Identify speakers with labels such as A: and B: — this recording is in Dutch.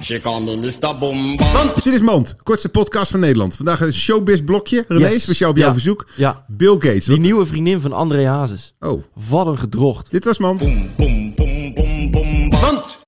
A: She call me Mr. Bombast.
B: Dit is Mand, kortste podcast van Nederland. Vandaag een showbiz blokje. René,
C: Yes.
B: speciaal op jouw
C: Ja.
B: verzoek.
C: Ja.
B: Bill Gates.
C: Die
B: Wat-
C: nieuwe vriendin van André Hazes.
B: Oh,
C: Wat een gedrocht.
B: dit was Mand.
A: Boom, boom, boom, boom, bombast.